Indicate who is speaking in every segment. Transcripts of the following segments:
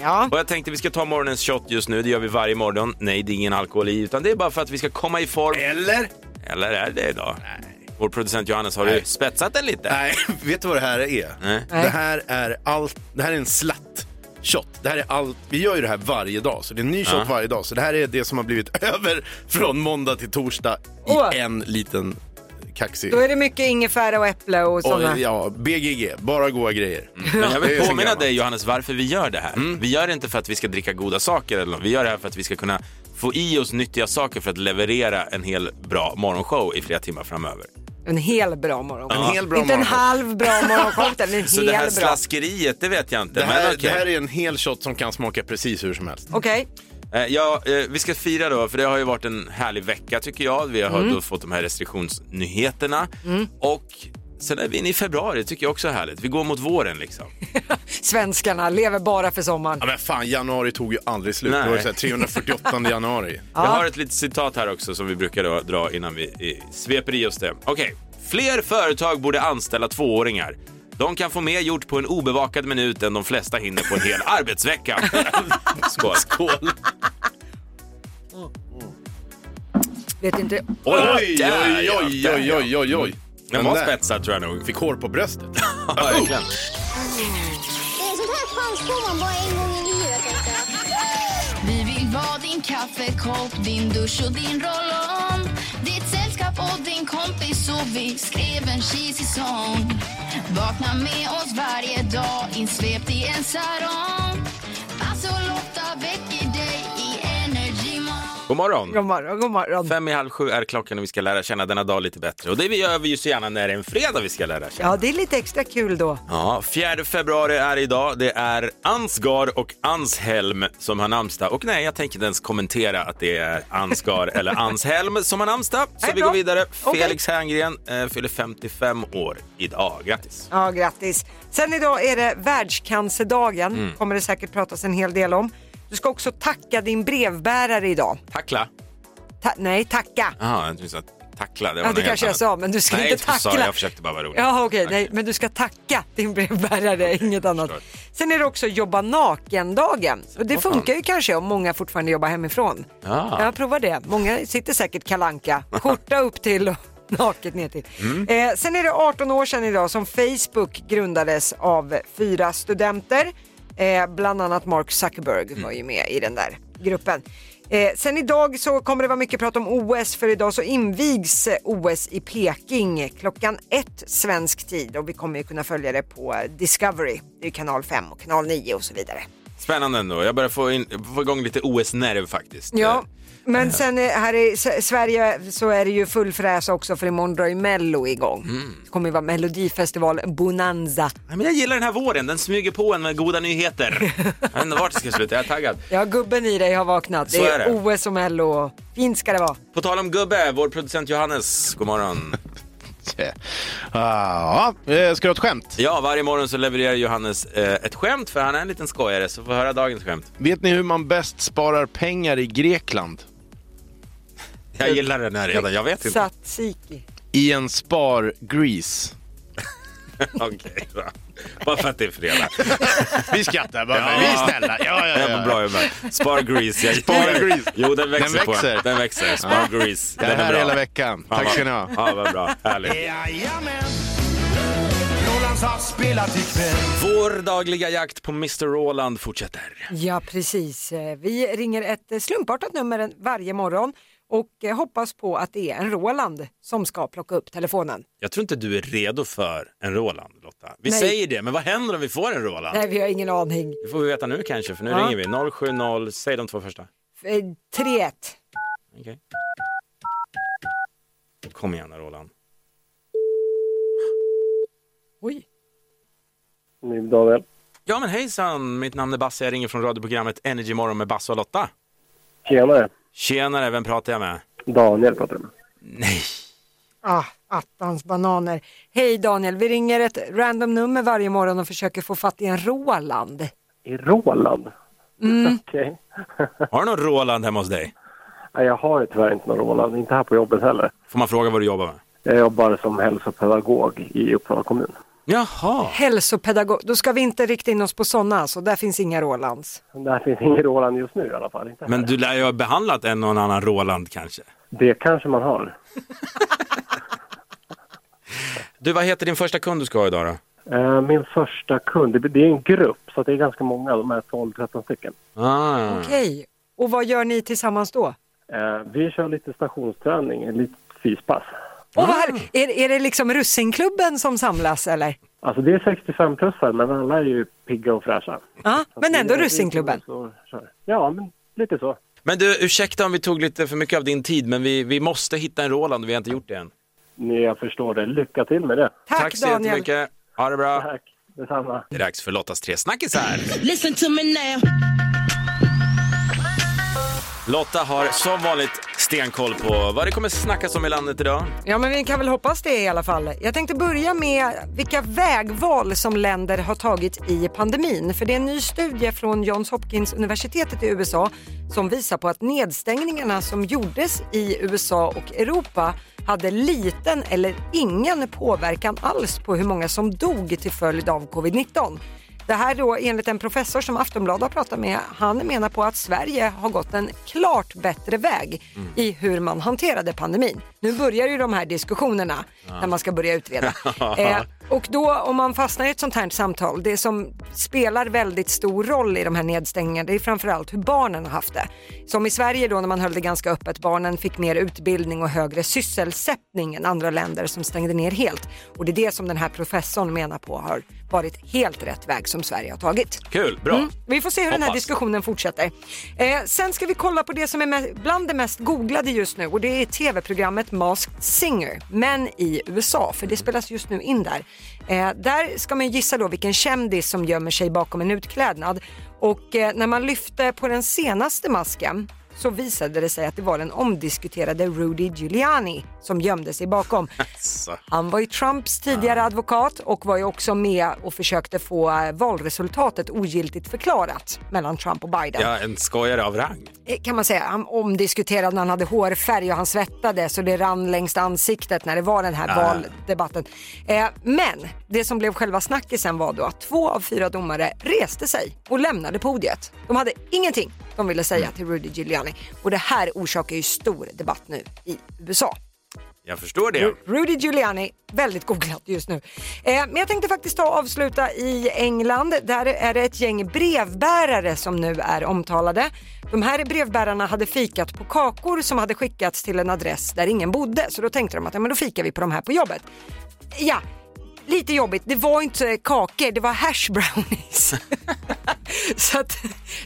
Speaker 1: Ja.
Speaker 2: Och jag tänkte vi ska ta morgonens shot just nu. Det gör vi varje morgon. Nej, det är ingen alkohol i, utan det är bara för att vi ska komma i form.
Speaker 3: Eller?
Speaker 2: Eller är det idag? Vår producent Johannes, har du
Speaker 3: Nej.
Speaker 2: spetsat den lite?
Speaker 3: Nej, vet du vad det här är?
Speaker 2: Nej.
Speaker 3: Det här är allt, det här är en slatt shot. Det här är allt, vi gör ju det här varje dag, så det är en ny shot varje dag. Så det här är det som har blivit över från måndag till torsdag i
Speaker 1: Åh.
Speaker 3: en liten kaxig.
Speaker 1: Då är det mycket ingefära och äpple och sådana.
Speaker 3: Och, ja, BGG, bara goa grejer.
Speaker 2: Mm. Men jag
Speaker 3: Det är Mm.
Speaker 2: vill
Speaker 3: så
Speaker 2: påminna
Speaker 3: gammalt.
Speaker 2: dig Johannes varför vi gör det här. Vi gör det inte för att vi ska dricka goda saker eller något. Vi gör det här för att vi ska kunna få i oss nyttiga saker för att leverera en hel bra morgonshow i flera timmar framöver.
Speaker 1: En hel bra morgon.
Speaker 3: En hel bra
Speaker 1: Inte en
Speaker 3: morgon.
Speaker 1: halv bra morgon, utan en
Speaker 2: Så det här
Speaker 1: hel bra.
Speaker 2: slaskeriet, det vet jag inte.
Speaker 3: Det
Speaker 2: men
Speaker 3: här,
Speaker 2: okej.
Speaker 3: det här är en hel shot som kan smaka precis hur som helst.
Speaker 1: Okej,
Speaker 2: Eh, Ja, eh, vi ska fira då, för det har ju varit en härlig vecka tycker jag. Vi har då fått de här restriktionsnyheterna. Och sen är vi inne i februari, tycker jag också är härligt. Vi går mot våren liksom.
Speaker 1: svenskarna lever bara för sommaren.
Speaker 3: Ja, men fan, januari tog ju aldrig slut.
Speaker 2: Nej.
Speaker 3: Det var ju så här 348 januari.
Speaker 2: Jag har ett litet citat här också som vi brukar då dra innan vi eh, sveper i oss det. Okej. Fler företag borde anställa tvååringar. De kan få mer gjort på en obevakad minut än de flesta hinner på en hel arbetsvecka. Skål.
Speaker 3: Skål!
Speaker 1: Vet inte.
Speaker 3: Oj, oj,
Speaker 2: Där,
Speaker 3: oj,
Speaker 2: ja,
Speaker 3: oj,
Speaker 2: där,
Speaker 3: oj,
Speaker 2: ja.
Speaker 3: oj, oj, oj.
Speaker 2: Den var
Speaker 3: där
Speaker 2: spetsad tror jag nog.
Speaker 3: Fick hår på bröstet.
Speaker 2: Ja, verkligen.
Speaker 4: Det är sånt här chans får man bara en gång i livet. tänkte jag.
Speaker 5: Vi vill vara din kaffekopp, din dusch och din roll-on Ditt sällskap och din kompis så vi skrev en cheesy sång Vakna med oss varje dag, insvept i en sarong Alltså Lotta väcker dig i Energy Morgon
Speaker 2: God morgon.
Speaker 1: God morgon, god morgon.
Speaker 2: Fem i halv sju är klockan och vi ska lära känna denna dag lite bättre. Och det gör vi ju så gärna när det är en fredag vi ska lära känna.
Speaker 1: Ja, det är lite extra kul då.
Speaker 2: Ja, 4 februari är idag. Det är Ansgar och Anshelm som har namnsdag. Och nej, jag tänker inte ens kommentera att det är Ansgar eller Anshelm som har namnsdag. Så
Speaker 1: Nej,
Speaker 2: vi
Speaker 1: bra.
Speaker 2: går vidare.
Speaker 1: Okej.
Speaker 2: Felix Herngren eh, fyller 55 år idag. Grattis!
Speaker 1: Ja, grattis. Sen idag är det världscancerdagen.
Speaker 3: Mm.
Speaker 1: kommer det säkert pratas en hel del om. Du ska också tacka din brevbärare idag.
Speaker 2: Tackla.
Speaker 1: Ta- nej, tacka.
Speaker 2: Jaha, jag trodde att tackla. Det var
Speaker 1: Ja,
Speaker 2: något
Speaker 1: det
Speaker 2: helt
Speaker 1: kanske jag
Speaker 2: annat.
Speaker 1: sa, men du ska
Speaker 2: nej,
Speaker 1: inte
Speaker 2: jag sa
Speaker 1: tackla.
Speaker 2: jag försökte bara vara rolig.
Speaker 1: Ja, okej,
Speaker 2: Tack.
Speaker 1: nej, men du ska tacka din brevbärare, inget annat.
Speaker 2: förstår.
Speaker 1: Sen är det också jobba naken-dagen. Och det funkar ju kanske om många fortfarande jobbar hemifrån.
Speaker 2: Ja.
Speaker 1: Jag provar det. Många sitter säkert kalanka, skjorta upp till och naket ner till. Eh, sen är det 18 år sedan idag som Facebook grundades av fyra studenter. Eh, bland annat Mark Zuckerberg var ju med i den där gruppen. Eh, sen idag så kommer det vara mycket prat om OS för idag så invigs eh, OS i Peking klockan ett svensk tid och vi kommer ju kunna följa det på eh, Discovery, det är kanal 5 och kanal 9 och så vidare.
Speaker 2: Spännande ändå. Jag börjar få, in, få igång lite OS-nerv faktiskt.
Speaker 1: Ja, men sen eh, här i S- Sverige så är det ju full fräs också för imorgon drar ju Mello igång. Det kommer ju vara Melodifestival Bonanza.
Speaker 2: Nej, men jag gillar den här våren, den smyger på en med goda nyheter. jag vet inte vart det ska sluta, jag är taggad.
Speaker 1: Ja, gubben i dig har vaknat.
Speaker 2: Så
Speaker 1: det
Speaker 2: är
Speaker 1: är,
Speaker 2: det.
Speaker 1: OS och Mello. och Fint ska det vara.
Speaker 2: På tal om gubbe, vår producent Johannes, god morgon.
Speaker 3: Ah, ja, ska du ha ett skämt?
Speaker 2: Ja, varje morgon så levererar Johannes eh, ett skämt, för han är en liten skojare, så får höra dagens skämt.
Speaker 3: Vet ni hur man bäst sparar pengar i Grekland?
Speaker 2: Jag gillar den här redan, jag vet inte.
Speaker 1: Tzatziki.
Speaker 3: I en spar-grease.
Speaker 2: Okej, bra. Bara för att det är fredag.
Speaker 3: Vi skrattar bara, men vi är snälla. Ja, ja,
Speaker 2: Jag är
Speaker 3: ja.
Speaker 2: på bra humör. Spar grease. Jag
Speaker 3: Spar grease.
Speaker 2: Jo, den växer,
Speaker 3: Den
Speaker 2: på en.
Speaker 3: växer.
Speaker 2: Den växer. Spar grease.
Speaker 3: Jag
Speaker 2: Den
Speaker 3: är här
Speaker 2: bra.
Speaker 3: hela veckan.
Speaker 2: Ja,
Speaker 3: Tack
Speaker 2: vad-
Speaker 3: ska ni ha.
Speaker 2: Ja, vad bra. Härligt.
Speaker 6: Jajamän! Rolands har spelat ikväll.
Speaker 2: Vår dagliga jakt på Mr Roland fortsätter.
Speaker 1: Ja, precis. Eh, Vi ringer ett eh, slumpartat nummer en- varje morgon och eh, hoppas på att det är en Roland som ska plocka upp telefonen.
Speaker 2: Jag tror inte du är redo för en Roland, Lotta. Vi
Speaker 1: Nej.
Speaker 2: säger det, men vad händer om vi får en Roland?
Speaker 1: Nej, vi har ingen aning.
Speaker 2: Det får vi veta nu kanske, för nu
Speaker 1: Ja.
Speaker 2: ringer vi. 070, säg de två första.
Speaker 1: Eh, 3-1.
Speaker 2: Okej. Kom igen då, Roland.
Speaker 1: Oj.
Speaker 7: Min Daniel.
Speaker 2: Ja men hejsan, mitt namn är Basse, jag ringer från radioprogrammet Energy Morgon med Basse och Lotta.
Speaker 7: Tjenare.
Speaker 2: Tjenare, vem pratar jag med?
Speaker 7: Daniel pratar du med.
Speaker 2: Nej.
Speaker 1: Ah, attans bananer. Hej Daniel, vi ringer ett random nummer varje morgon och försöker få fatt i en Roland.
Speaker 7: I Roland? Mm. Okej.
Speaker 2: Har du någon Roland hemma hos dig?
Speaker 7: Nej, jag har ju tyvärr inte någon Roland. Inte här på jobbet heller.
Speaker 2: Får man fråga vad du jobbar med?
Speaker 7: Jag jobbar som hälsopedagog i Uppsala kommun.
Speaker 2: Jaha.
Speaker 1: Hälsopedagog, då ska vi inte rikta in oss på sådana alltså, där finns inga Rolands.
Speaker 7: Där finns ingen Roland just nu i alla fall. Inte här.
Speaker 2: Men du lär ju ha behandlat en och en annan Roland kanske.
Speaker 7: Det kanske man har.
Speaker 2: Du, vad heter din första kund du ska ha idag då?
Speaker 7: Eh, Min första kund, det- det är en grupp så att det är ganska många, de är 12-13 stycken.
Speaker 2: Ah.
Speaker 1: Okej, och vad gör ni tillsammans då?
Speaker 7: Eh, Vi kör lite stationsträning, lite fyspass.
Speaker 1: Och vad här, är, är det liksom russinklubben som samlas eller?
Speaker 7: Alltså det är 65-plussar men alla är ju pigga och fräscha.
Speaker 1: Ja, men
Speaker 7: Det
Speaker 1: ändå
Speaker 7: är- det är
Speaker 1: russinklubben.
Speaker 7: så- så- Ja, men lite så.
Speaker 2: Men du, ursäkta om vi tog lite för mycket av din tid, men vi, vi måste hitta en Roland och vi har inte gjort det än.
Speaker 7: Nej, jag förstår det. Lycka till med det.
Speaker 1: Tack,
Speaker 2: Tack så
Speaker 1: Daniel.
Speaker 2: jättemycket. Ha det bra.
Speaker 7: Tack, detsamma.
Speaker 2: Det är dags för Lottas tre snackisar.
Speaker 8: Listen to me now.
Speaker 2: Lotta har som vanligt stenkoll på vad det kommer snackas om i landet idag.
Speaker 1: Ja, men vi kan väl hoppas det i alla fall. Jag tänkte börja med vilka vägval som länder har tagit i pandemin. För det är en ny studie från Johns Hopkins universitetet i USA som visar på att nedstängningarna som gjordes i USA och Europa hade liten eller ingen påverkan alls på hur många som dog till följd av covid-19. Det här då enligt en professor som Aftonbladet har pratat med. Han menar på att Sverige har gått en klart bättre väg i hur man hanterade pandemin. Nu börjar ju de här diskussionerna när man ska börja utreda. eh, och då om man fastnar i ett sånt här samtal, det som spelar väldigt stor roll i de här nedstängningarna, det är framförallt hur barnen har haft det. Som i Sverige då när man höll det ganska öppet, barnen fick mer utbildning och högre sysselsättning än andra länder som stängde ner helt. Och det är det som den här professorn menar på har varit helt rätt väg som Sverige har tagit.
Speaker 2: Kul, bra.
Speaker 1: Mm, vi får se hur den här
Speaker 2: Hoppas.
Speaker 1: diskussionen fortsätter. Eh, sen ska vi kolla på det som är me- bland det mest googlade just nu och det är tv-programmet Masked Singer, men i USA, för det spelas just nu in där. Eh, där ska man ju gissa då vilken kändis som gömmer sig bakom en utklädnad och eh, när man lyfte på den senaste masken så visade det sig att det var den omdiskuterade Rudy Giuliani som gömde sig bakom. Han var ju Trumps tidigare advokat och var ju också med och försökte få eh, valresultatet ogiltigt förklarat mellan Trump och Biden.
Speaker 2: Ja, en skojare av rang.
Speaker 1: Eh, Kan man säga. Han omdiskuterade när han hade hårfärg och han svettade så det rann längs ansiktet när det var den här valdebatten. Eh, men det som blev själva snackisen var då att två av fyra domare reste sig och lämnade podiet. De hade ingenting de ville säga till Rudy Giuliani och det här orsakar ju stor debatt nu i USA.
Speaker 2: Jag förstår
Speaker 8: Mm.
Speaker 2: det.
Speaker 1: Ru- Rudy Giuliani, väldigt googlat just nu. Eh, men jag tänkte faktiskt ta och avsluta i England. Där är det ett gäng brevbärare som nu är omtalade. De här brevbärarna hade fikat på kakor som hade skickats till en adress där ingen bodde. Så då tänkte de att ja, men då fikar vi på de här på jobbet. Ja, lite jobbigt. Det var inte kakor, det var hash brownies. Så att,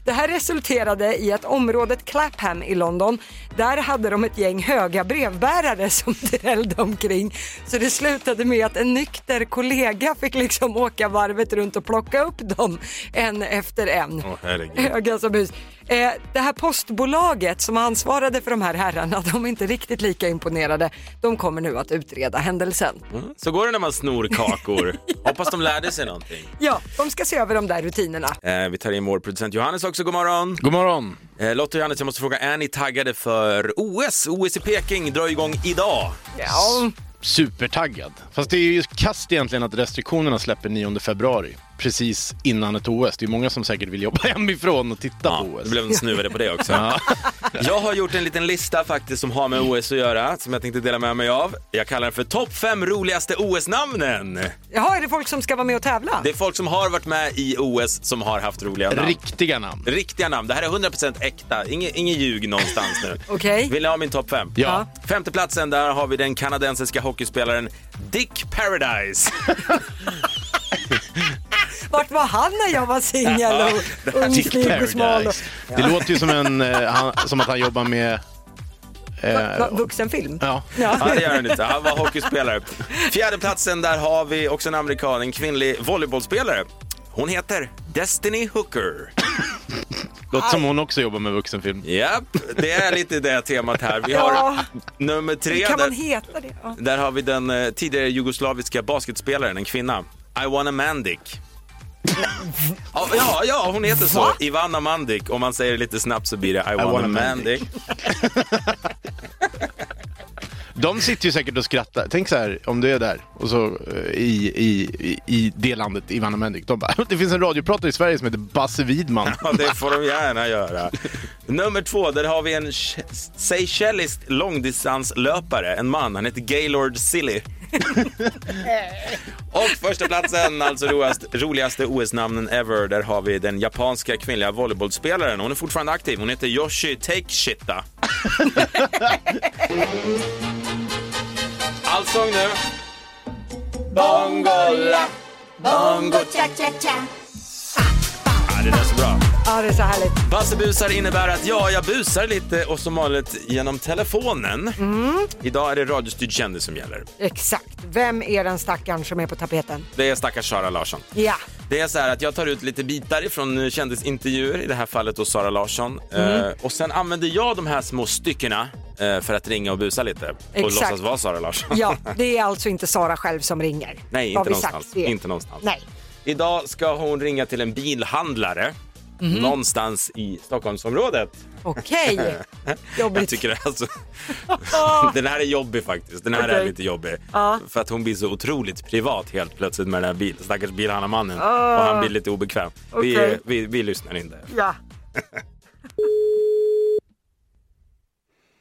Speaker 1: det här resulterade i att området Clapham i London, där hade de ett gäng höga brevbärare som drällde omkring. Så det slutade med att en nykter kollega fick liksom åka varvet runt och plocka upp dem en efter en.
Speaker 2: Åh, herregud.
Speaker 1: Höga som hus. Eh, det här postbolaget som ansvarade för de här herrarna, de är inte riktigt lika imponerade. De kommer nu att utreda händelsen.
Speaker 2: Mm. Så går det när man snor kakor. Hoppas de lärde sig någonting.
Speaker 1: Ja, de ska se över de där rutinerna.
Speaker 2: Eh, vi tar in vår producent Johannes också, god morgon.
Speaker 3: God morgon.
Speaker 2: Eh, Lotta och Johannes, jag måste fråga, är ni taggade för OS? OS i Peking drar igång idag.
Speaker 1: Ja,
Speaker 3: Supertaggad. Fast det är ju kast egentligen att restriktionerna släpper 9 februari. Precis innan ett OS. Det är många som säkert vill jobba hemifrån och titta
Speaker 2: Ja,
Speaker 3: på OS.
Speaker 2: det blev en snuvade på det också.
Speaker 3: Ja.
Speaker 2: Jag har gjort en liten lista faktiskt som har med OS att göra, som jag tänkte dela med mig av. Jag kallar den för topp fem roligaste OS-namnen.
Speaker 1: Jaha, är det folk som ska vara med och tävla?
Speaker 2: Det är folk som har varit med i OS som har haft roliga namn.
Speaker 3: Riktiga namn.
Speaker 2: Riktiga namn. Det här är 100% äkta. Inge, ingen ljug någonstans nu.
Speaker 1: Okej.
Speaker 2: Vill ni ha min topp fem?
Speaker 3: Ja.
Speaker 2: Femte platsen där har vi den kanadensiska hockeyspelaren Dick Paradise.
Speaker 1: Vart var han när jag var singel och ung,
Speaker 3: Dick
Speaker 1: snygg och smal? och-
Speaker 3: Paradise. Det låter ju som, en, eh, han, som att han jobbar med... eh,
Speaker 1: Va- va- Vuxenfilm?
Speaker 3: Ja.
Speaker 2: Ja, det gör han inte. Han var hockeyspelare. Fjärde platsen där har vi också en amerikan, en kvinnlig volleybollspelare. Hon heter Destiny Hooker.
Speaker 3: Låter som hon också jobbar med vuxenfilm.
Speaker 2: Japp, det är lite det temat här. Vi har
Speaker 1: Ja.
Speaker 2: nummer tre.
Speaker 1: Kan man
Speaker 2: Där,
Speaker 1: heta det? Ja.
Speaker 2: där har vi den eh, tidigare jugoslaviska basketspelaren, en kvinna. Ivana Mandic. Ja, ja, ja, hon heter så. Ivana Mandic. Om man säger det lite snabbt så blir det Ivana
Speaker 3: wanna
Speaker 2: Mandic.
Speaker 3: Mandic. De sitter ju säkert och skrattar. Tänk så här, om du är där och så eh, i, i, i, i det landet, i Vanamendik. De bara, det finns en radiopratare i Sverige som heter Basse Widman.
Speaker 2: Ja, det får de gärna göra. Nummer två, där har vi en sh- seychellisk långdistanslöpare. En man, han heter Gaylord Silly. Och första platsen, alltså roast, roligaste OS-namnen ever, där har vi den japanska kvinnliga volleybollspelaren. Hon är fortfarande aktiv. Hon heter Yoshi Takeshita. Allsång nu. Bongola, bongo cha-cha-cha. Det där är så bra.
Speaker 1: Ja, det är så härligt.
Speaker 2: Bassebusar innebär att ja, jag busar lite och som vanligt genom telefonen.
Speaker 1: Mm.
Speaker 2: Idag är det radiostyrd kändis som gäller.
Speaker 1: Exakt. Vem är den stackaren som är på tapeten?
Speaker 2: Det är stackars Sara Larsson.
Speaker 1: Ja,
Speaker 2: Det är så här att jag tar ut lite bitar ifrån eh, kändisintervjuer, i det här fallet hos Sara Larsson.
Speaker 1: Mm.
Speaker 2: Eh, och sen använder jag de här små styckena eh, för att ringa och busa lite och
Speaker 1: Exakt.
Speaker 2: låtsas vara Sara Larsson.
Speaker 1: ja det är alltså inte Sara själv som ringer.
Speaker 2: Nej,
Speaker 1: Har
Speaker 2: inte
Speaker 1: vi sagt
Speaker 2: någonstans.
Speaker 1: det?
Speaker 2: inte någonstans.
Speaker 1: Nej.
Speaker 2: Idag ska hon ringa till en bilhandlare
Speaker 1: Mhm.
Speaker 2: någonstans i Stockholmsområdet.
Speaker 1: Okej.
Speaker 2: Jag
Speaker 1: Jobbigt.
Speaker 2: tycker det, alltså, den här är jobbig faktiskt. Den här är
Speaker 1: Okej.
Speaker 2: lite jobbig.
Speaker 1: Ja.
Speaker 2: För att hon blir så otroligt privat helt plötsligt med den här bil, stackars bilhandlarmannen. Och han blir lite obekväm. Vi,
Speaker 1: Ah. Okej.
Speaker 2: vi, vi lyssnar inte.
Speaker 1: Ja.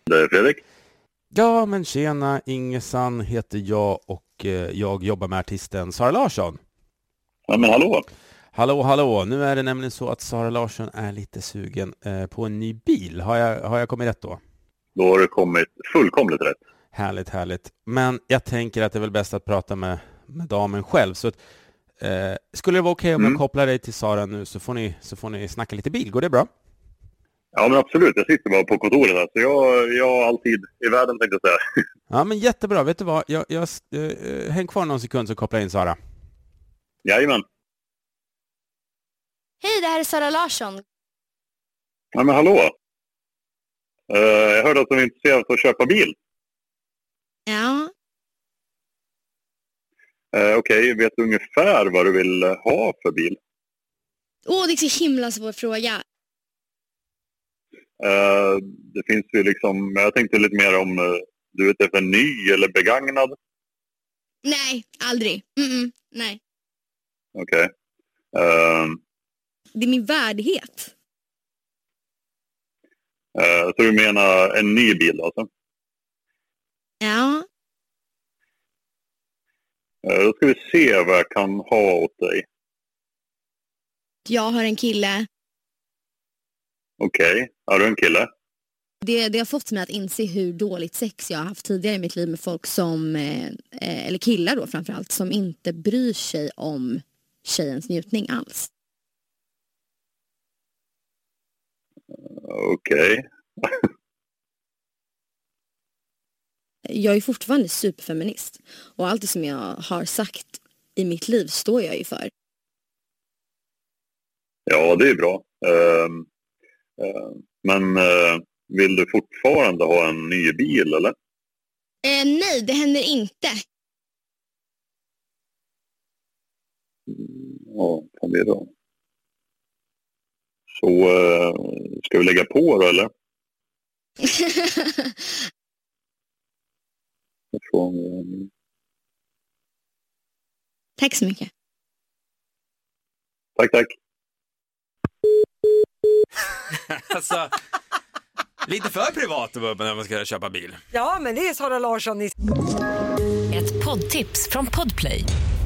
Speaker 9: Det är Fredrik.
Speaker 2: Ja men tjena, Ingesan heter jag och eh, jag jobbar med artisten Sara Larsson.
Speaker 9: Ja, men hallå.
Speaker 2: Hallå hallå, nu är det nämligen så att Sara Larsson är lite sugen eh, på en ny bil. Har jag, har jag kommit rätt då?
Speaker 9: Då har du kommit fullkomligt rätt.
Speaker 2: Härligt, härligt. Men jag tänker att det är väl bäst att prata med, med damen själv. Så att, eh, skulle det vara okej om jag kopplar dig till Sara nu så får, ni, så får ni snacka lite bil. Går det bra?
Speaker 9: Ja, men absolut. Jag sitter bara på kontoret här, så jag, jag har alltid i världen tänkte jag säga.
Speaker 2: Ja, men jättebra. Vet du vad? Jag, jag, eh, eh, häng kvar någon sekund så kopplar jag in Sara.
Speaker 9: Jajamän.
Speaker 5: Hej, det här är Sara Larsson.
Speaker 9: Ja, men hallå. Eh, jag hörde att du är intresserad av att köpa bil.
Speaker 5: Ja.
Speaker 9: Eh, Okej, vet du ungefär vad du vill eh, ha för bil?
Speaker 5: Åh, det är så himla svår fråga.
Speaker 9: Eh, det finns ju liksom, jag tänkte lite mer om eh, du är ute efter ny eller begagnad.
Speaker 5: Nej, aldrig. Mm-mm, nej.
Speaker 9: Okej. Eh,
Speaker 5: Det är min värdighet.
Speaker 9: eh, så du menar en ny bil alltså?
Speaker 5: Ja.
Speaker 9: Eh, då ska vi se vad jag kan ha åt dig.
Speaker 5: Jag har en kille.
Speaker 9: Okej, är du en kille?
Speaker 5: Det, det har fått mig att inse hur dåligt sex jag har haft tidigare i mitt liv med folk som, eh, eh, eller killar då framförallt, som inte bryr sig om tjejens njutning alls.
Speaker 9: Okej.
Speaker 5: Jag är fortfarande superfeminist och allt det som jag har sagt i mitt liv står jag ju för.
Speaker 9: Ja, det är bra. Ehm, ehm, men eh, vill du fortfarande ha en ny bil eller?
Speaker 5: Eh, nej, det händer inte.
Speaker 9: Ja, kan det då. Så eh, ska vi lägga på då eller? Jag tror om vi-
Speaker 5: Tack så mycket.
Speaker 9: Tack, tack.
Speaker 2: Alltså, lite för privat att vara uppe när man ska köpa bil.
Speaker 1: ja, men det är Sara Larsson i
Speaker 10: Ett poddtips från Podplay.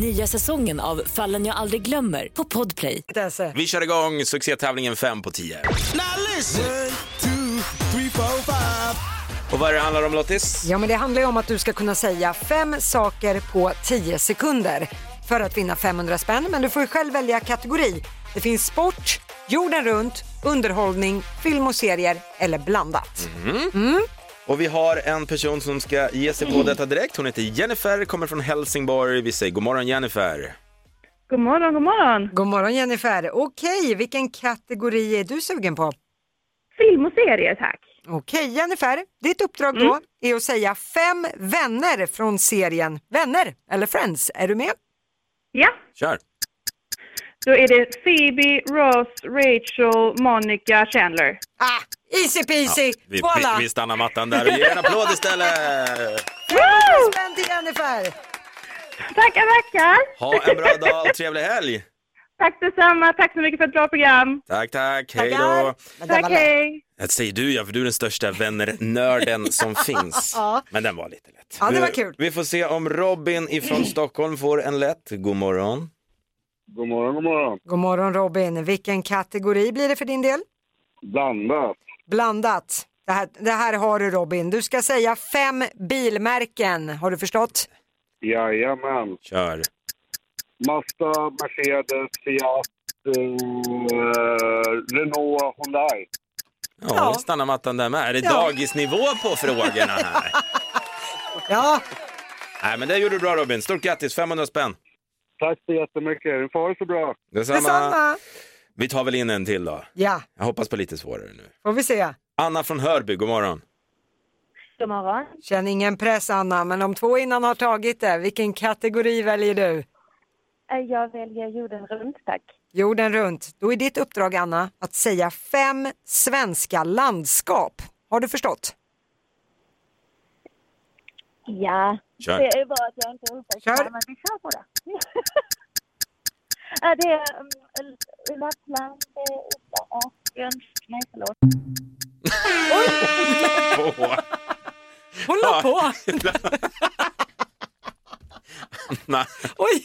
Speaker 10: Nya säsongen av Fallen jag aldrig glömmer på Podplay.
Speaker 1: Desse.
Speaker 2: Vi kör igång succétävlingen 5 på 10. Och vad är det det handlar om Lottis?
Speaker 1: Ja, men det handlar ju om att du ska kunna säga fem saker på 10 sekunder för att vinna 500 spänn. Men du får ju själv välja kategori. Det finns sport, jorden runt, underhållning, film och serier eller blandat.
Speaker 2: Mm. Och vi har en person som ska ge sig på detta direkt. Hon heter Jennifer, kommer från Helsingborg. Vi säger god morgon Jennifer.
Speaker 11: God morgon, god morgon.
Speaker 1: God morgon Jennifer. Okej, vilken kategori är du sugen på?
Speaker 11: Film och serier tack.
Speaker 1: Okej Jennifer, ditt uppdrag då
Speaker 2: Mm.
Speaker 1: är att säga fem vänner från serien Vänner eller Friends. Är du med?
Speaker 11: Ja,
Speaker 2: Kör!
Speaker 11: då är det Phoebe, Ross, Rachel, Monica, Chandler.
Speaker 1: Ah, easy peasy!
Speaker 2: Vi, vi, vi stannar mattan där och ger en applåd istället!
Speaker 1: Spänn till Jennifer!
Speaker 11: Tackar, tackar.
Speaker 2: Ha en bra dag och trevlig helg!
Speaker 11: Tack detsamma. Tack så mycket för ett bra program.
Speaker 2: Tack, tack, hej
Speaker 11: Tackar.
Speaker 2: då!
Speaker 11: Tack, hej.
Speaker 2: Det säger du ja, för du är den största vänner-nörden som finns.
Speaker 11: Ja.
Speaker 2: Men den var lite lätt.
Speaker 1: Ja, det var
Speaker 2: Vi-
Speaker 1: kul.
Speaker 2: Vi får se om Robin ifrån Stockholm får en lätt. God morgon.
Speaker 8: God morgon, god morgon.
Speaker 1: God morgon Robin, vilken kategori blir det för din del?
Speaker 8: Blandat.
Speaker 1: Blandat. Det här, det här har du Robin, du ska säga fem bilmärken, har du förstått?
Speaker 8: Jajamän.
Speaker 2: Kör.
Speaker 8: Mazda, Mercedes, Fiat, eh, Renault, Hyundai.
Speaker 2: Ja,
Speaker 8: Ja.
Speaker 2: ja. stannar mattan där med. Är det
Speaker 8: Ja.
Speaker 2: dagisnivå på frågorna här?
Speaker 1: ja.
Speaker 2: Nej, men det gjorde du bra Robin. Stort grattis, 500 spänn.
Speaker 8: Tack så jättemycket. Du får ha det så bra.
Speaker 2: Detsamma. Vi tar väl in en till då.
Speaker 1: Ja,
Speaker 2: Jag hoppas på lite svårare nu.
Speaker 1: får vi se.
Speaker 2: Anna från Hörby, god morgon.
Speaker 1: God morgon. Känn ingen press Anna, men om två innan har tagit det, vilken kategori väljer du?
Speaker 12: Eh, Jag väljer jorden runt, tack.
Speaker 1: Jorden runt. Då är ditt uppdrag Anna att säga fem svenska landskap. Har du förstått?
Speaker 12: Ja,
Speaker 1: Kör.
Speaker 12: det är bara att jag inte är
Speaker 1: Kör.
Speaker 12: uppmärksam, men vi kör på det. Ja, det är um, L- Lappland, det är Uppland och... Jön- Nej, förlåt.
Speaker 1: Hålla på!
Speaker 2: Nej.
Speaker 1: Oj,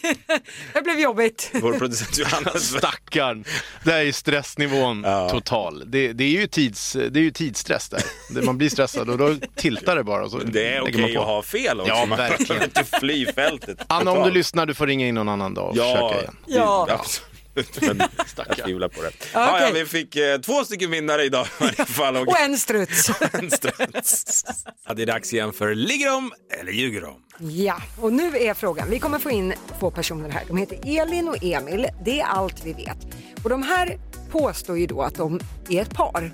Speaker 1: det blev jobbigt.
Speaker 2: Vår producent Johanna.
Speaker 3: Stackarn. Det är ju stressnivån total. Det, det, är ju tids, det är ju tidsstress där. Det- Man blir stressad och då tiltar det bara. Och så
Speaker 2: Det är okej att ha fel också.
Speaker 3: Ja,
Speaker 2: Man
Speaker 3: verkligen.
Speaker 2: behöver inte fly fältet.
Speaker 3: Anna, om du
Speaker 2: totalt.
Speaker 3: lyssnar, du får ringa in någon annan dag och försöka igen.
Speaker 1: Ja.
Speaker 2: absolut. Men jag tvivlar på det. Ja, ja,
Speaker 1: Okej.
Speaker 2: vi fick eh, två stycken vinnare idag i varje fall. Och
Speaker 1: Och en struts.
Speaker 2: ja, det är dags igen för Ligger de eller ljuger de?
Speaker 1: Ja, och nu är frågan. Vi kommer få in två personer här. De heter Elin och Emil. Det är allt vi vet. Och de här påstår ju då att de är ett par.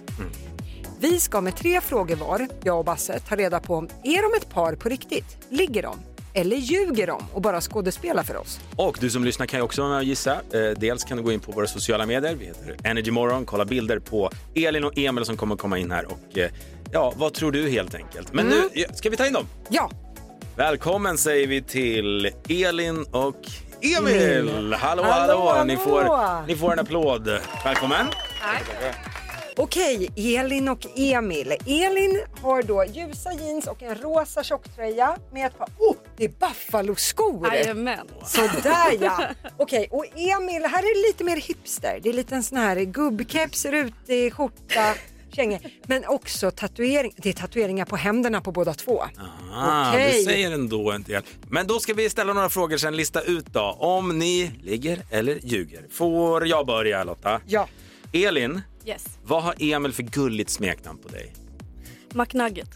Speaker 1: Vi ska med tre frågor var, jag och Basse, ta reda på om är de ett par på riktigt? Ligger de? Eller ljuger de och bara skådespelar för oss?
Speaker 2: Och du som lyssnar kan ju också vara med och gissa. Eh, Dels kan du gå in på våra sociala medier. Vi heter Energymorgon. Kolla bilder på Elin och Emil som kommer komma in här. Och eh, ja, vad tror du helt enkelt? Men
Speaker 1: Mm.
Speaker 2: nu ja, ska vi ta in dem.
Speaker 1: Ja.
Speaker 2: Välkommen säger vi till Elin och
Speaker 1: Emil.
Speaker 2: Emil. Hallå, hallå.
Speaker 1: Hallå, hallå.
Speaker 2: Ni, får, ni får en applåd. Välkommen.
Speaker 1: Okej, Elin och Emil. Elin har då ljusa jeans och en rosa tjocktröja med ett par... Oh, det är Buffalo-skor!
Speaker 13: Jajamän.
Speaker 1: Sådär ja! Okej, och Emil, här är det lite mer hipster. Det är lite en sån här gubbkeps, rutig skjorta, kängor. Men också tatuering. Det är tatueringar på händerna på båda två.
Speaker 2: Ah,
Speaker 1: Okej.
Speaker 2: Du säger ändå en del. Men då ska vi ställa några frågor sen, lista ut då om ni ligger eller ljuger. Får jag börja Lotta?
Speaker 1: Ja.
Speaker 2: Elin,
Speaker 13: Yes.
Speaker 2: vad har Emil för gulligt smeknamn på dig?
Speaker 13: McNugget.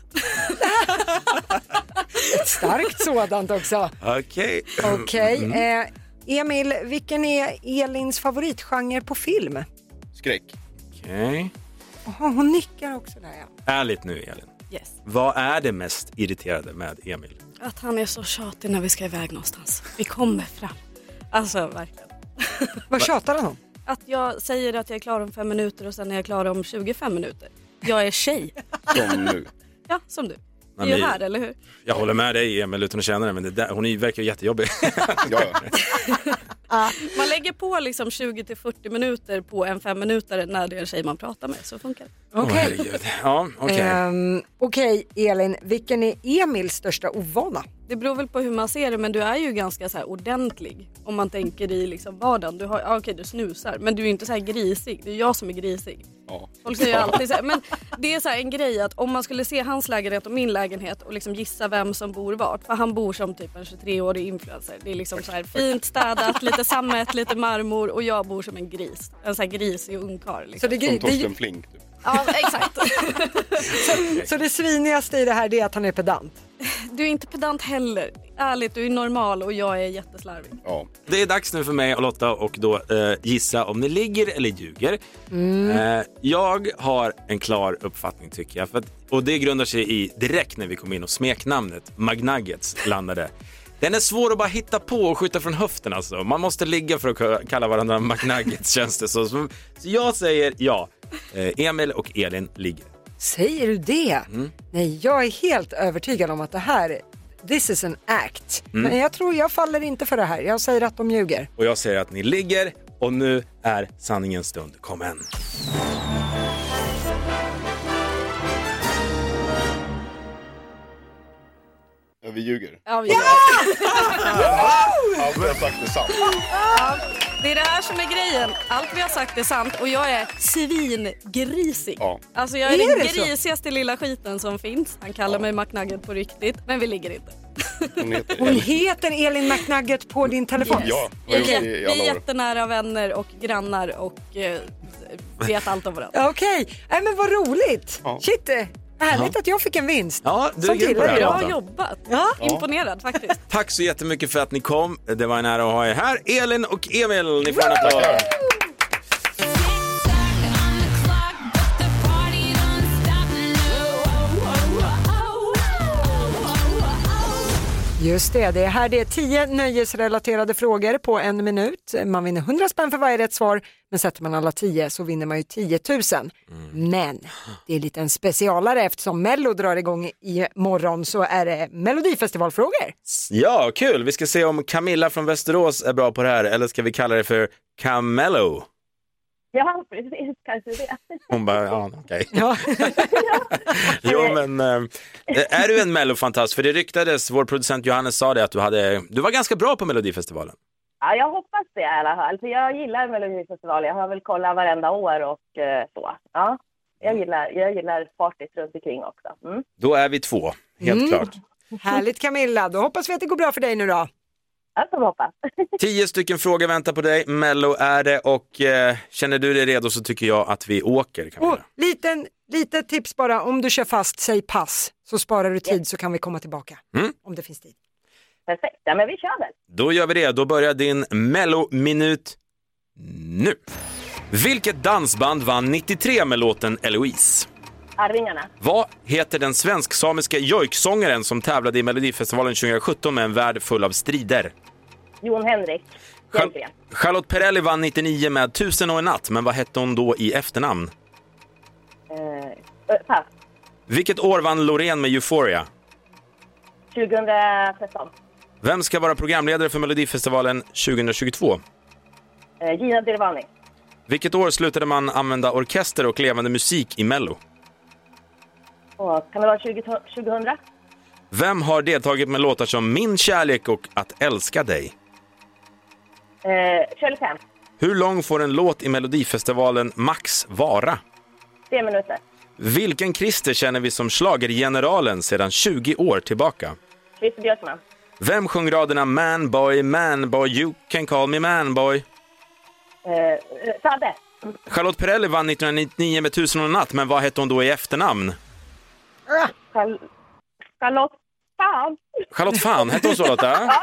Speaker 1: Ett starkt sådant också.
Speaker 2: Okej.
Speaker 1: Okej,
Speaker 2: Mm.
Speaker 1: eh, Emil, vilken är Elins favoritgenre på film?
Speaker 2: Skräck. Okej.
Speaker 1: Jaha, hon nickar också där ja.
Speaker 2: Ärligt nu Elin,
Speaker 13: Yes.
Speaker 2: vad är det mest irriterande med Emil?
Speaker 13: Att han är så tjatig när vi ska iväg någonstans. Vi kommer fram. Alltså verkligen.
Speaker 1: Vad tjatar han om?
Speaker 13: Att jag säger att jag är klar om fem minuter och sen är jag klar om 25 minuter. Jag är tjej.
Speaker 2: Som nu.
Speaker 13: Ja, som du. Vi
Speaker 2: Nej,
Speaker 13: är ju
Speaker 2: men-
Speaker 13: här, eller hur?
Speaker 2: Jag håller med dig Emil utan att känna det, men det där, hon är ju- verkar ju jättejobbig. ja.
Speaker 13: Man lägger på liksom 20 till 40 minuter på en fem minuter när det är en tjej man pratar med. Så funkar det.
Speaker 1: Okej.
Speaker 2: ja,
Speaker 13: Eh,
Speaker 2: okej.
Speaker 1: Ehm, Okej, Elin, vilken är Emils största ovana?
Speaker 13: Det beror väl på hur man ser det men du är ju ganska så här ordentlig om man tänker i liksom vardagen. Du har, ja, okej du snusar men du är ju inte så här grisig. Det är jag som är grisig. Folk säger ju alltid så här, men det är så här en grej att om man skulle se hans lägenhet och min lägenhet och liksom gissa vem som bor vart. För han bor som typ en 23-årig influencer. Det är liksom så här fint städat, lite sammet, lite marmor och jag bor som en gris. En så här grisig ungkarl. Liksom.
Speaker 1: Så det är gri- Som Torsten det-
Speaker 3: typ.
Speaker 13: Flink. Ja exakt.
Speaker 1: Så det svinigaste i det här det är att han är pedant.
Speaker 13: Du är inte pedant heller. Ärligt, du är normal och jag är jätteslarvig.
Speaker 2: Det är dags nu för mig och Lotta och då eh, gissa om ni ligger eller ljuger. Eh, jag har en klar uppfattning tycker jag. För att, och det grundar sig i direkt när vi kom in och smeknamnet Magnuggets landade. Den är svår att bara hitta på och skjuta från höften alltså. Man måste ligga för att k- kalla varandra Magnuggets känns det så. Så så jag säger ja. Eh, Emil och Elin ligger.
Speaker 1: Säger du det?
Speaker 2: Mm.
Speaker 1: Nej, jag är helt övertygad om att det här, this is an act.
Speaker 2: Mm.
Speaker 1: Men jag tror jag faller inte för det här. Jag säger att de ljuger.
Speaker 2: Och jag säger att ni ligger och nu är sanningens stund kommen.
Speaker 14: Ja, vi ljuger.
Speaker 13: Ja! ja!
Speaker 14: Allt jag har sagt är sant.
Speaker 13: Ja, Det är det här som är grejen. Allt vi har sagt är sant och jag är svingrisig.
Speaker 14: Ja.
Speaker 13: Alltså jag är,
Speaker 14: Är
Speaker 13: den
Speaker 14: det så?
Speaker 13: grisigaste lilla skiten som finns. Han kallar mig McNugget på riktigt, men vi ligger inte.
Speaker 14: Hon heter
Speaker 1: Hon heter Elin McNugget på din telefon.
Speaker 14: Ja,
Speaker 13: Vi
Speaker 14: jag har
Speaker 13: är,
Speaker 14: gjort
Speaker 13: jätte,
Speaker 14: det i
Speaker 13: vi är
Speaker 14: alla år.
Speaker 13: jättenära vänner och grannar och eh, vet allt om varandra.
Speaker 1: Ja, Okej, Nej, men vad roligt. Shit, eh, härligt att jag fick en vinst.
Speaker 2: Ja, du är
Speaker 1: Som
Speaker 2: grym på
Speaker 1: kille
Speaker 2: det här,
Speaker 1: idag.
Speaker 2: Lotta.
Speaker 13: Bra jobbat!
Speaker 1: Ja.
Speaker 13: Imponerad faktiskt.
Speaker 2: Tack så jättemycket för att ni kom. Det var en ära att ha er här. Elin och Emil, ni får en applåd.
Speaker 1: Just det, det är här det är tio nöjesrelaterade frågor på en minut. Man vinner 100 spänn för varje rätt svar, men sätter man alla tio så vinner man ju 10 000. Men det är lite en specialare eftersom Mello drar igång i morgon så är det Melodifestivalfrågor.
Speaker 2: Ja, kul. Vi ska se om Camilla från Västerås är bra på det här eller ska vi kalla det för Camello?
Speaker 12: Ja, precis. Kanske det.
Speaker 2: Hon bara, ja okej. jo men, eh, är du en mellofantast? För det ryktades, vår producent Johannes sa det att du, hade, du var ganska bra på Melodifestivalen.
Speaker 12: Ja, jag hoppas det i alla fall. För jag gillar Melodifestivalen. Jag har väl kollat varenda år och eh, så. Ja,
Speaker 2: Mm.
Speaker 12: jag gillar, jag gillar partyt runt omkring också. Mm.
Speaker 2: Då är vi två, helt
Speaker 1: Mm.
Speaker 2: klart.
Speaker 1: Härligt Camilla, då hoppas vi att det går bra för dig nu då.
Speaker 12: Jag får hoppas.
Speaker 2: Tio stycken frågor väntar på dig, Mello är det och eh, känner du dig redo så tycker jag att vi åker. Camilla.
Speaker 1: Och liten, litet tips bara, om du kör fast, säg pass så sparar du tid så kan vi komma tillbaka
Speaker 2: Mm.
Speaker 1: om det finns tid.
Speaker 12: Perfekt. Ja, men vi kör väl.
Speaker 2: Då gör vi det. Då börjar din Mello-minut nu. Vilket dansband vann 93 med låten Eloise?
Speaker 12: Arvingarna.
Speaker 2: Vad heter den svensk-samiska jojksångaren som tävlade i Melodifestivalen 2017 med en värld full av strider?
Speaker 12: Jon Henrik. Egentligen.
Speaker 2: Charlotte Perrelli vann 99 med Tusen och en natt, men vad hette hon då i efternamn?
Speaker 12: Eh, eh, pass.
Speaker 2: Vilket år vann Loreen med Euphoria?
Speaker 12: 2013.
Speaker 2: Vem ska vara programledare för Melodifestivalen 2022?
Speaker 12: Eh, Gina Dirvani.
Speaker 2: Vilket år slutade man använda orkester och levande musik i Mello?
Speaker 12: Och, kan det vara 20, 2000?
Speaker 2: Vem har deltagit med låtar som Min kärlek och Att älska dig?
Speaker 12: Eh, Shirley Temp.
Speaker 2: Hur lång får en låt i Melodifestivalen max vara?
Speaker 12: Tre minuter.
Speaker 2: Vilken Christer känner vi som schlagergeneralen sedan 20 år tillbaka?
Speaker 12: Christer Björkman.
Speaker 2: Vem sjöng raderna Man boy, man boy, you can call me man boy?
Speaker 12: Eh, eh, Sade.
Speaker 2: Charlotte Perrelli vann 1999 med Tusen och en natt, men vad hette hon då i efternamn?
Speaker 12: Char- Ah. Charlotte. Fan.
Speaker 2: Charlotte Fan, hette hon så Lotta?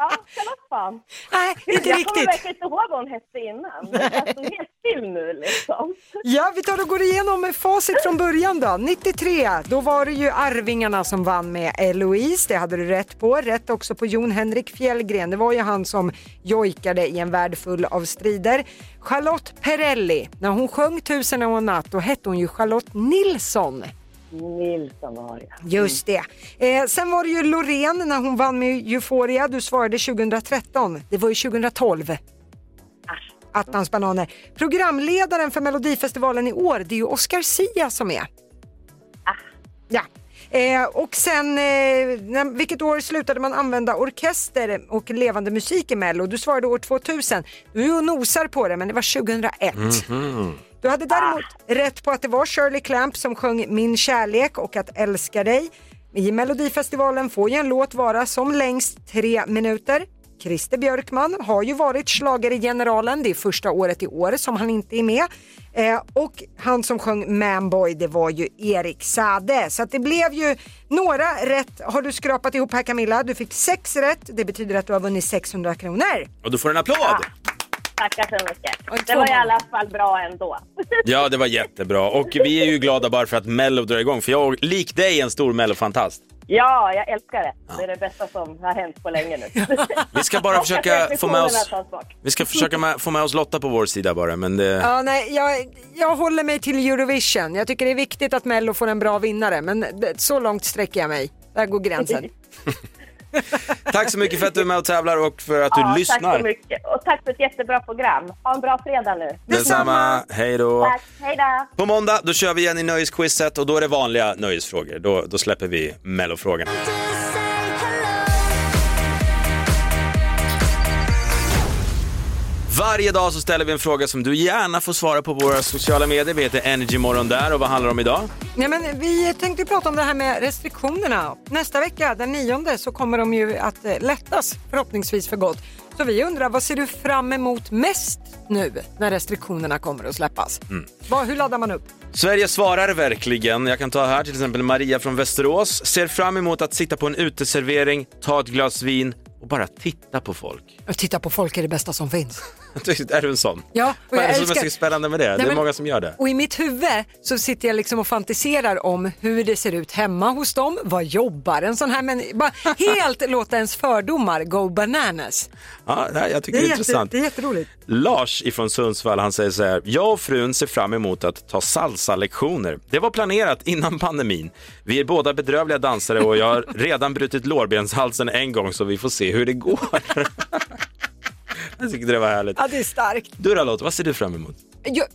Speaker 12: Ja, Charlotte Fan.
Speaker 1: Nej,
Speaker 2: inte
Speaker 12: jag
Speaker 2: riktigt.
Speaker 12: kommer verkligen inte ihåg vad hon hette innan. Jag stod helt still nu liksom.
Speaker 1: Ja, vi tar och går igenom med facit från början då. 93, då var det ju Arvingarna som vann med Eloise, det hade du rätt på. Rätt också på Jon Henrik Fjällgren, det var ju han som jojkade i en värld full av strider. Charlotte Perrelli, när hon sjöng Tusen och en natt, då hette hon ju Charlotte Nilsson.
Speaker 12: Nilsson var jag.
Speaker 1: Just det. Eh, sen var det ju Loreen när hon vann med Euphoria. Du svarade 2013. Det var ju 2012. Attans bananer. Programledaren för Melodifestivalen i år, det är ju Oscar Sia som är. Ja. Eh, och sen, eh, när, vilket år slutade man använda orkester och levande musik i Mello? Du svarade år 2000. Du är ju och nosar på det, men det var 2001. Du hade däremot rätt på att det var Shirley Clamp som sjöng Min kärlek och att älska dig. I Melodifestivalen får ju en låt vara som längst tre minuter. Christer Björkman har ju varit slager i generalen. Det är första året i år som han inte är med. Eh, och han som sjöng Manboy det var ju Erik Sade. Så att det blev ju några rätt har du skrapat ihop här Camilla. Du fick sex rätt. Det betyder att du har vunnit 600 kronor.
Speaker 2: Och du får en applåd!
Speaker 12: Tackar så mycket. Det var i alla fall bra ändå.
Speaker 2: Ja, det var jättebra. Och vi är ju glada bara för att Mello drar igång, för jag, lik dig, är en stor Mello-fantast.
Speaker 12: Ja, jag älskar det. Det är det bästa som har hänt på länge nu.
Speaker 2: Vi ska bara försöka få med oss,
Speaker 12: Reflektionerna tas bort.
Speaker 2: vi ska försöka med, få med oss Lotta på vår sida bara, men det,
Speaker 1: Ja, nej, jag, jag håller mig till Eurovision. Jag tycker det är viktigt att Mello får en bra vinnare, men det- så långt sträcker jag mig. Där går gränsen.
Speaker 2: Tack så mycket för att du är med och tävlar och för att du
Speaker 12: ja, Tack så
Speaker 2: lyssnar.
Speaker 12: mycket. Och tack för ett jättebra program. Ha en bra fredag nu.
Speaker 2: Detsamma, hej då.
Speaker 12: Tack. Hej då.
Speaker 2: På måndag då kör vi igen i nöjesquizet och då är det vanliga nöjesfrågor. Då, då släpper vi mellofrågorna. Varje dag så ställer vi en fråga som du gärna får svara på våra sociala medier. Vi heter Energymorgon där och vad handlar det om idag?
Speaker 1: Nej, men vi tänkte prata om det här med restriktionerna. Nästa vecka, den nionde, så kommer de ju att eh, lättas förhoppningsvis för gott. Så vi undrar, vad ser du fram emot mest nu när restriktionerna kommer att släppas?
Speaker 2: Mm.
Speaker 1: Vad, hur laddar man upp?
Speaker 2: Sverige svarar verkligen. Jag kan ta här till exempel Maria från Västerås. Ser fram emot att sitta på en uteservering, ta ett glas vin och bara titta på folk.
Speaker 1: Att titta på folk är det bästa som finns.
Speaker 2: är du en sån?
Speaker 1: Ja, och
Speaker 2: Vad är
Speaker 1: jag
Speaker 2: det som är
Speaker 1: älskar-
Speaker 2: så spännande med det?
Speaker 1: Nej,
Speaker 2: det är
Speaker 1: men-
Speaker 2: många som gör det.
Speaker 1: Och i mitt huvud så sitter jag liksom och fantiserar om hur det ser ut hemma hos dem. Vad jobbar en sån här människa? Bara helt låta ens fördomar go bananas.
Speaker 2: Ja, det här, jag tycker det är, intressant.
Speaker 1: Jätte, det är jätteroligt.
Speaker 2: Lars ifrån Sundsvall han säger så här. Jag och frun ser fram emot att ta salsa-lektioner. Det var planerat innan pandemin. Vi är båda bedrövliga dansare och jag har redan brutit lårbenshalsen en gång så vi får se hur det går. jag tycker det var härligt.
Speaker 1: Ja, det är starkt.
Speaker 2: Du då Lotta, vad ser du fram emot?
Speaker 1: Jag,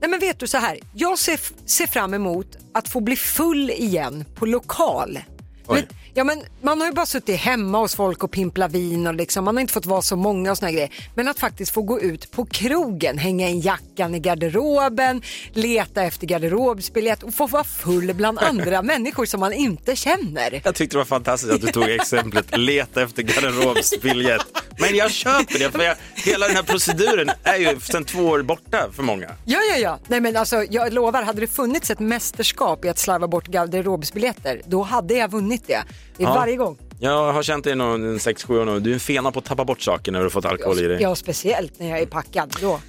Speaker 1: nej men vet du så här, jag ser, ser fram emot att få bli full igen på lokal.
Speaker 2: Oj.
Speaker 1: Men, ja, men man har ju bara suttit hemma hos folk och pimpla vin och liksom, man har inte fått vara så många och såna här grejer. Men att faktiskt få gå ut på krogen, hänga in jackan i garderoben, leta efter garderobsbiljett och få vara full bland andra människor som man inte känner.
Speaker 2: Jag tyckte det var fantastiskt att du tog exemplet leta efter garderobsbiljett. Men jag köper det, för jag, hela den här proceduren är ju sedan två år borta för många.
Speaker 1: Ja, ja, ja. Nej, men alltså, jag lovar, hade det funnits ett mästerskap i att slarva bort garderobsbiljetter, då hade jag vunnit det. Det är
Speaker 2: Ja.
Speaker 1: varje gång.
Speaker 2: Jag har känt dig någon 6-7 år nu. Du är en fena på att tappa bort saker när du har fått alkohol i dig.
Speaker 1: Ja, speciellt när jag är packad då.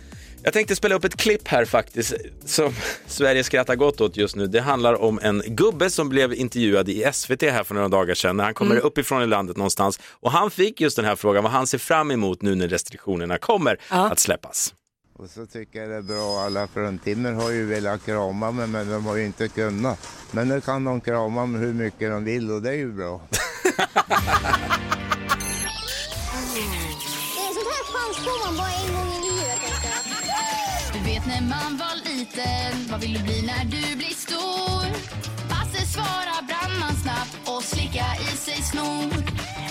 Speaker 2: Jag tänkte spela upp ett klipp här faktiskt som Sverige skrattar gott åt just nu. Det handlar om en gubbe som blev intervjuad i SVT här för några dagar sedan när han kommer
Speaker 15: Mm.
Speaker 2: uppifrån i landet någonstans. Och han fick just den här frågan vad han ser fram emot nu när restriktionerna kommer att släppas.
Speaker 15: Och så tycker jag det är bra, alla fruntimmer har ju velat krama mig men de har ju inte kunnat. Men nu kan de krama mig hur mycket de vill och det är ju bra.
Speaker 5: Sånt här chans får man bara en gång i livet. Du vet när man var liten, vad vill du bli när du blir stor? Basse svarar brandman snabbt och slicka i sig snor.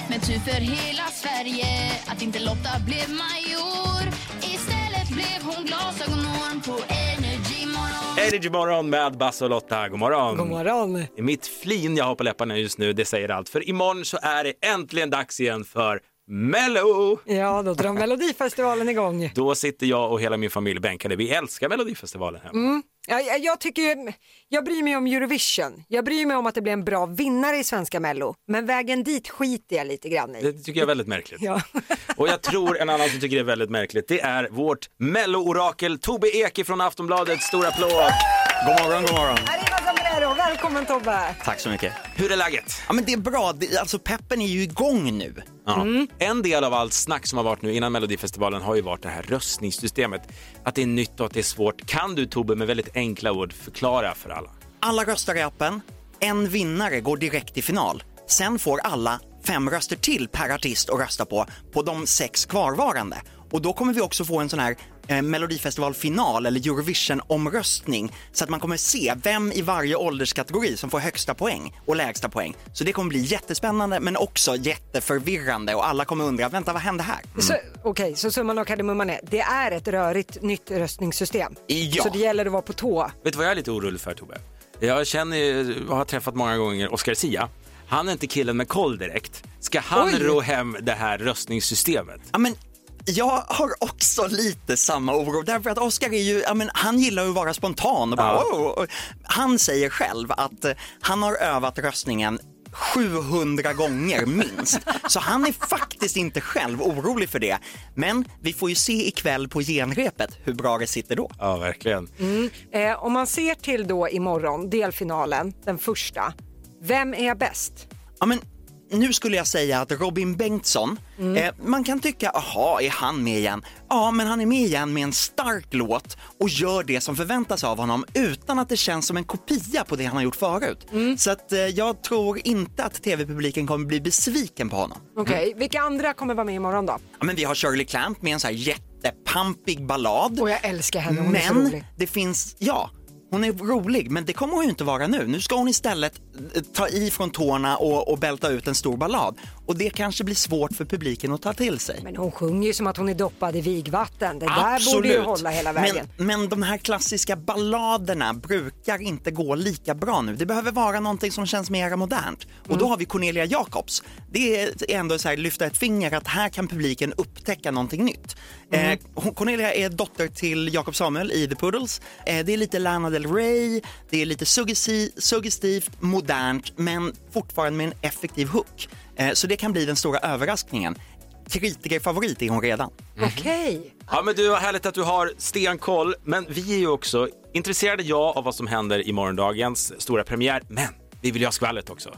Speaker 5: Men tur för hela Sverige att inte Lotta blev major. Istället blev hon glasögonorm på Energy Morgon.
Speaker 2: Energy morgon med Basse och Lotta. God morgon.
Speaker 1: God morgon.
Speaker 2: Mitt flin jag har på läpparna just nu, det säger allt. För imorgon så är det äntligen dags igen för Mello!
Speaker 1: Ja, då drar Melodifestivalen igång.
Speaker 2: Då sitter jag och hela min familj bänkade. Vi älskar Melodifestivalen här.
Speaker 1: Mm. Ja, Jag, jag, tycker, ju- jag bryr mig om Eurovision. Jag bryr mig om att det blir en bra vinnare i svenska Mello. Men vägen dit skiter jag lite grann i.
Speaker 2: Det tycker jag är väldigt märkligt.
Speaker 1: Ja.
Speaker 2: Och jag tror en annan som tycker det är väldigt märkligt, det är vårt Mello-orakel Tobbe Eke från Aftonbladet. Stor applåd!
Speaker 9: God morgon, god morgon.
Speaker 1: Arriba Sombrero, välkommen Tobbe!
Speaker 9: Tack så mycket.
Speaker 2: Hur är läget?
Speaker 9: Ja, men det är bra. Det- Alltså, peppen är ju igång nu.
Speaker 2: Ja. En del av allt snack som har varit nu innan Melodifestivalen har ju varit det här röstningssystemet. Att det är nytt och att det är svårt. Kan du Tobbe med väldigt enkla ord förklara för alla?
Speaker 9: Alla röstar i appen. En vinnare går direkt till final. Sen får alla fem röster till per artist att rösta på, på de sex kvarvarande. Och då kommer vi också få en sån här eh, Melodifestivalfinal eller Eurovision-omröstning så att man kommer se vem i varje ålderskategori som får högsta poäng och lägsta poäng. Så det kommer bli jättespännande men också jätteförvirrande och alla kommer undra, vänta vad hände här?
Speaker 1: Så, Okej, så summan och kardemumman är, det är ett rörigt nytt röstningssystem.
Speaker 2: Ja.
Speaker 1: Så det gäller att vara på tå.
Speaker 2: Vet du vad jag är lite orolig för Tobbe? Jag känner ju, jag har träffat många gånger Oscar Sia. Han är inte killen med koll direkt. Ska han
Speaker 9: Oj.
Speaker 2: ro hem det här röstningssystemet?
Speaker 9: Ja, men jag har också lite samma oro därför att Oscar är ju, ja, men han gillar ju att vara spontan och bara,
Speaker 2: Ja.
Speaker 9: "Wow." Och Han säger själv att eh, han har övat röstningen 700 gånger minst. Så han är faktiskt inte själv orolig för det. Men vi får ju se ikväll på genrepet hur bra det sitter då.
Speaker 2: Ja, verkligen.
Speaker 1: Mm. Eh, om man ser till då imorgon, delfinalen, den första. Vem är bäst?
Speaker 9: Ja, men nu skulle jag säga att Robin Bengtsson,
Speaker 1: Mm.
Speaker 9: eh, man kan tycka, aha, är han med igen? Ja, men han är med igen med en stark låt och gör det som förväntas av honom utan att det känns som en kopia på det han har gjort förut.
Speaker 1: Mm.
Speaker 9: Så att eh, jag tror inte att tv-publiken kommer bli besviken på honom.
Speaker 1: Okej,
Speaker 2: Mm.
Speaker 1: vilka andra kommer vara med imorgon då?
Speaker 9: Ja, men vi har Shirley Clamp med en så här jättepampig ballad.
Speaker 1: Och jag älskar henne, hon är så
Speaker 9: men
Speaker 1: rolig.
Speaker 9: det finns, ja, hon är rolig, men det kommer hon ju inte vara nu. Nu ska hon istället eh, ta i från tårna och, och bälta ut en stor ballad. Och det kanske blir svårt för publiken att ta till sig.
Speaker 1: Men hon sjunger ju som att hon är doppad i vigvatten. Det där borde ju hålla hela vägen.
Speaker 9: Men, men de här klassiska balladerna brukar inte gå lika bra nu. Det behöver vara någonting som känns mer modernt. Och
Speaker 1: Mm.
Speaker 9: då har vi Cornelia Jacobs. Det är ändå så här, lyfta ett finger att här kan publiken upptäcka någonting nytt.
Speaker 1: Mm.
Speaker 9: Eh, hon- Cornelia är dotter till Jakob Samuel i The Poodles. Eh, det är lite Lana Del Rey, det är lite suggesti- suggestivt, modernt men fortfarande med en effektiv hook. Eh, så det kan bli den stora överraskningen. Kritikerfavorit är hon redan.
Speaker 1: Okej.
Speaker 2: Ja, men du, vad härligt att du har stenkoll. Men vi är ju också intresserade, jag, av vad som händer i morgondagens stora premiär. Men vi vill ju ha skvallret också.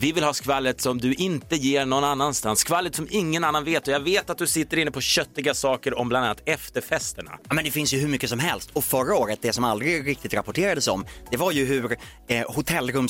Speaker 2: Vi vill ha skvallret som du inte ger någon annanstans. Skvallret som ingen annan vet. Och jag vet att du sitter inne på köttiga saker om bland annat efterfesterna.
Speaker 9: Ja, men det finns ju hur mycket som helst. Och förra året, det som aldrig riktigt rapporterades om, det var ju hur eh,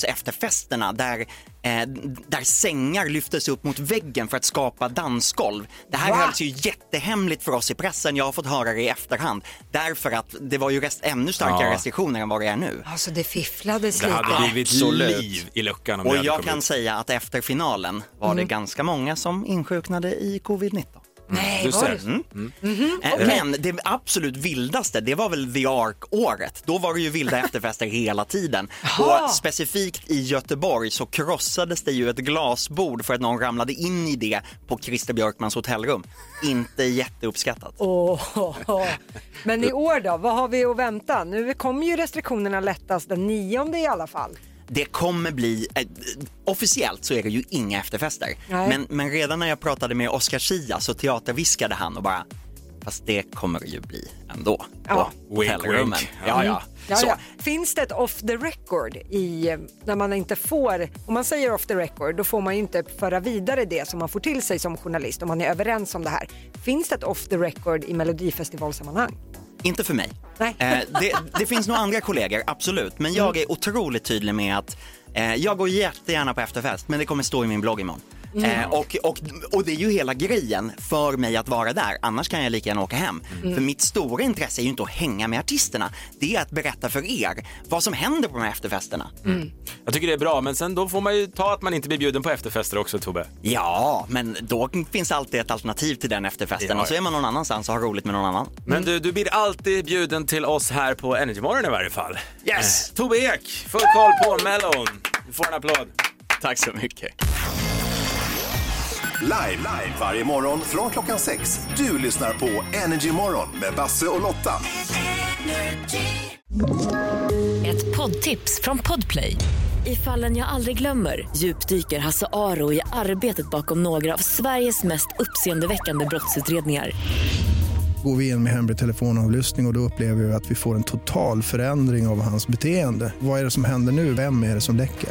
Speaker 9: hotellrumsefterfesterna där, eh, där sängar lyftes upp mot väggen för att skapa dansgolv. Det här
Speaker 16: Va?
Speaker 9: hölls ju jättehemligt för oss i pressen. Jag har fått höra det i efterhand. Därför att det var ju rest, ännu starkare
Speaker 2: Ja.
Speaker 9: restriktioner än vad det är nu.
Speaker 1: Alltså det fifflades
Speaker 9: Det
Speaker 1: lite.
Speaker 9: hade blivit Absolut. liv
Speaker 2: i luckan om det
Speaker 9: Och
Speaker 2: hade
Speaker 9: jag
Speaker 2: kommit.
Speaker 9: kan säga att efter finalen var det
Speaker 1: Mm.
Speaker 9: ganska många som insjuknade i covid-19.
Speaker 1: Nej, Du var ser. det så?
Speaker 9: Mm.
Speaker 1: Mhm,
Speaker 9: Eh,
Speaker 1: okej.
Speaker 9: Men det absolut vildaste, det var väl The Ark-året. Då var det ju vilda efterfester hela tiden.
Speaker 1: Jaha.
Speaker 9: Och specifikt i Göteborg så krossades det ju ett glasbord för att någon ramlade in i det på Christer Björkmans hotellrum. Inte jätteuppskattat.
Speaker 1: Åh. Men i år då, vad har vi att vänta? Nu kommer ju restriktionerna lättas den nionde i alla fall.
Speaker 9: Det kommer bli, eh, officiellt så är det ju inga efterfester.
Speaker 1: Nej.
Speaker 9: Men, men redan när jag pratade med Oscar Schia så teaterviskade han och bara, fast det kommer det ju bli ändå.
Speaker 1: Ja.
Speaker 9: På hotellrummen. Ja, ja.
Speaker 1: Ja,
Speaker 9: Så,
Speaker 1: ja. Finns det ett off the record i, eh, när man inte får, om man säger off the record då får man ju inte föra vidare det som man får till sig som journalist om man är överens om det här. Finns det ett off the record i melodifestivalsammanhang?
Speaker 9: Inte för mig.
Speaker 1: Nej.
Speaker 9: Eh, det, det finns nog andra kollegor, absolut. Men jag är otroligt tydlig med att eh, jag går jättegärna på efterfest, men det kommer stå i min blogg imorgon.
Speaker 16: Mm.
Speaker 9: Eh, och, och, och det är ju hela grejen för mig att vara där, annars kan jag lika gärna åka hem.
Speaker 16: Mm.
Speaker 9: För mitt stora intresse är ju inte att hänga med artisterna, det är att berätta för er vad som händer på de här efterfesterna.
Speaker 2: Jag tycker det är bra, men sen då får man ju ta att man inte blir bjuden på efterfester också, Tobbe.
Speaker 9: Ja, men då finns alltid ett alternativ till den efterfesten
Speaker 2: Ja.
Speaker 9: och så är man någon annanstans och har roligt med någon annan.
Speaker 2: Men du, du blir alltid bjuden till oss här på Energymorgon i varje fall. Yes! Tobbe Ek, full koll på Mellon. Du får en applåd.
Speaker 9: Tack så mycket.
Speaker 17: Live, live varje morgon från klockan sex. Du lyssnar på Energy Morgon med Basse och Lotta.
Speaker 18: Ett poddtips från Podplay. I fallen jag aldrig glömmer djupdyker Hasse Aro i arbetet bakom några av Sveriges mest uppseendeväckande brottsutredningar.
Speaker 19: Går vi in med hemlig telefonavlyssning och, och då upplever vi att vi får en total förändring av hans beteende. Vad är det som händer nu? Vem är det som läcker?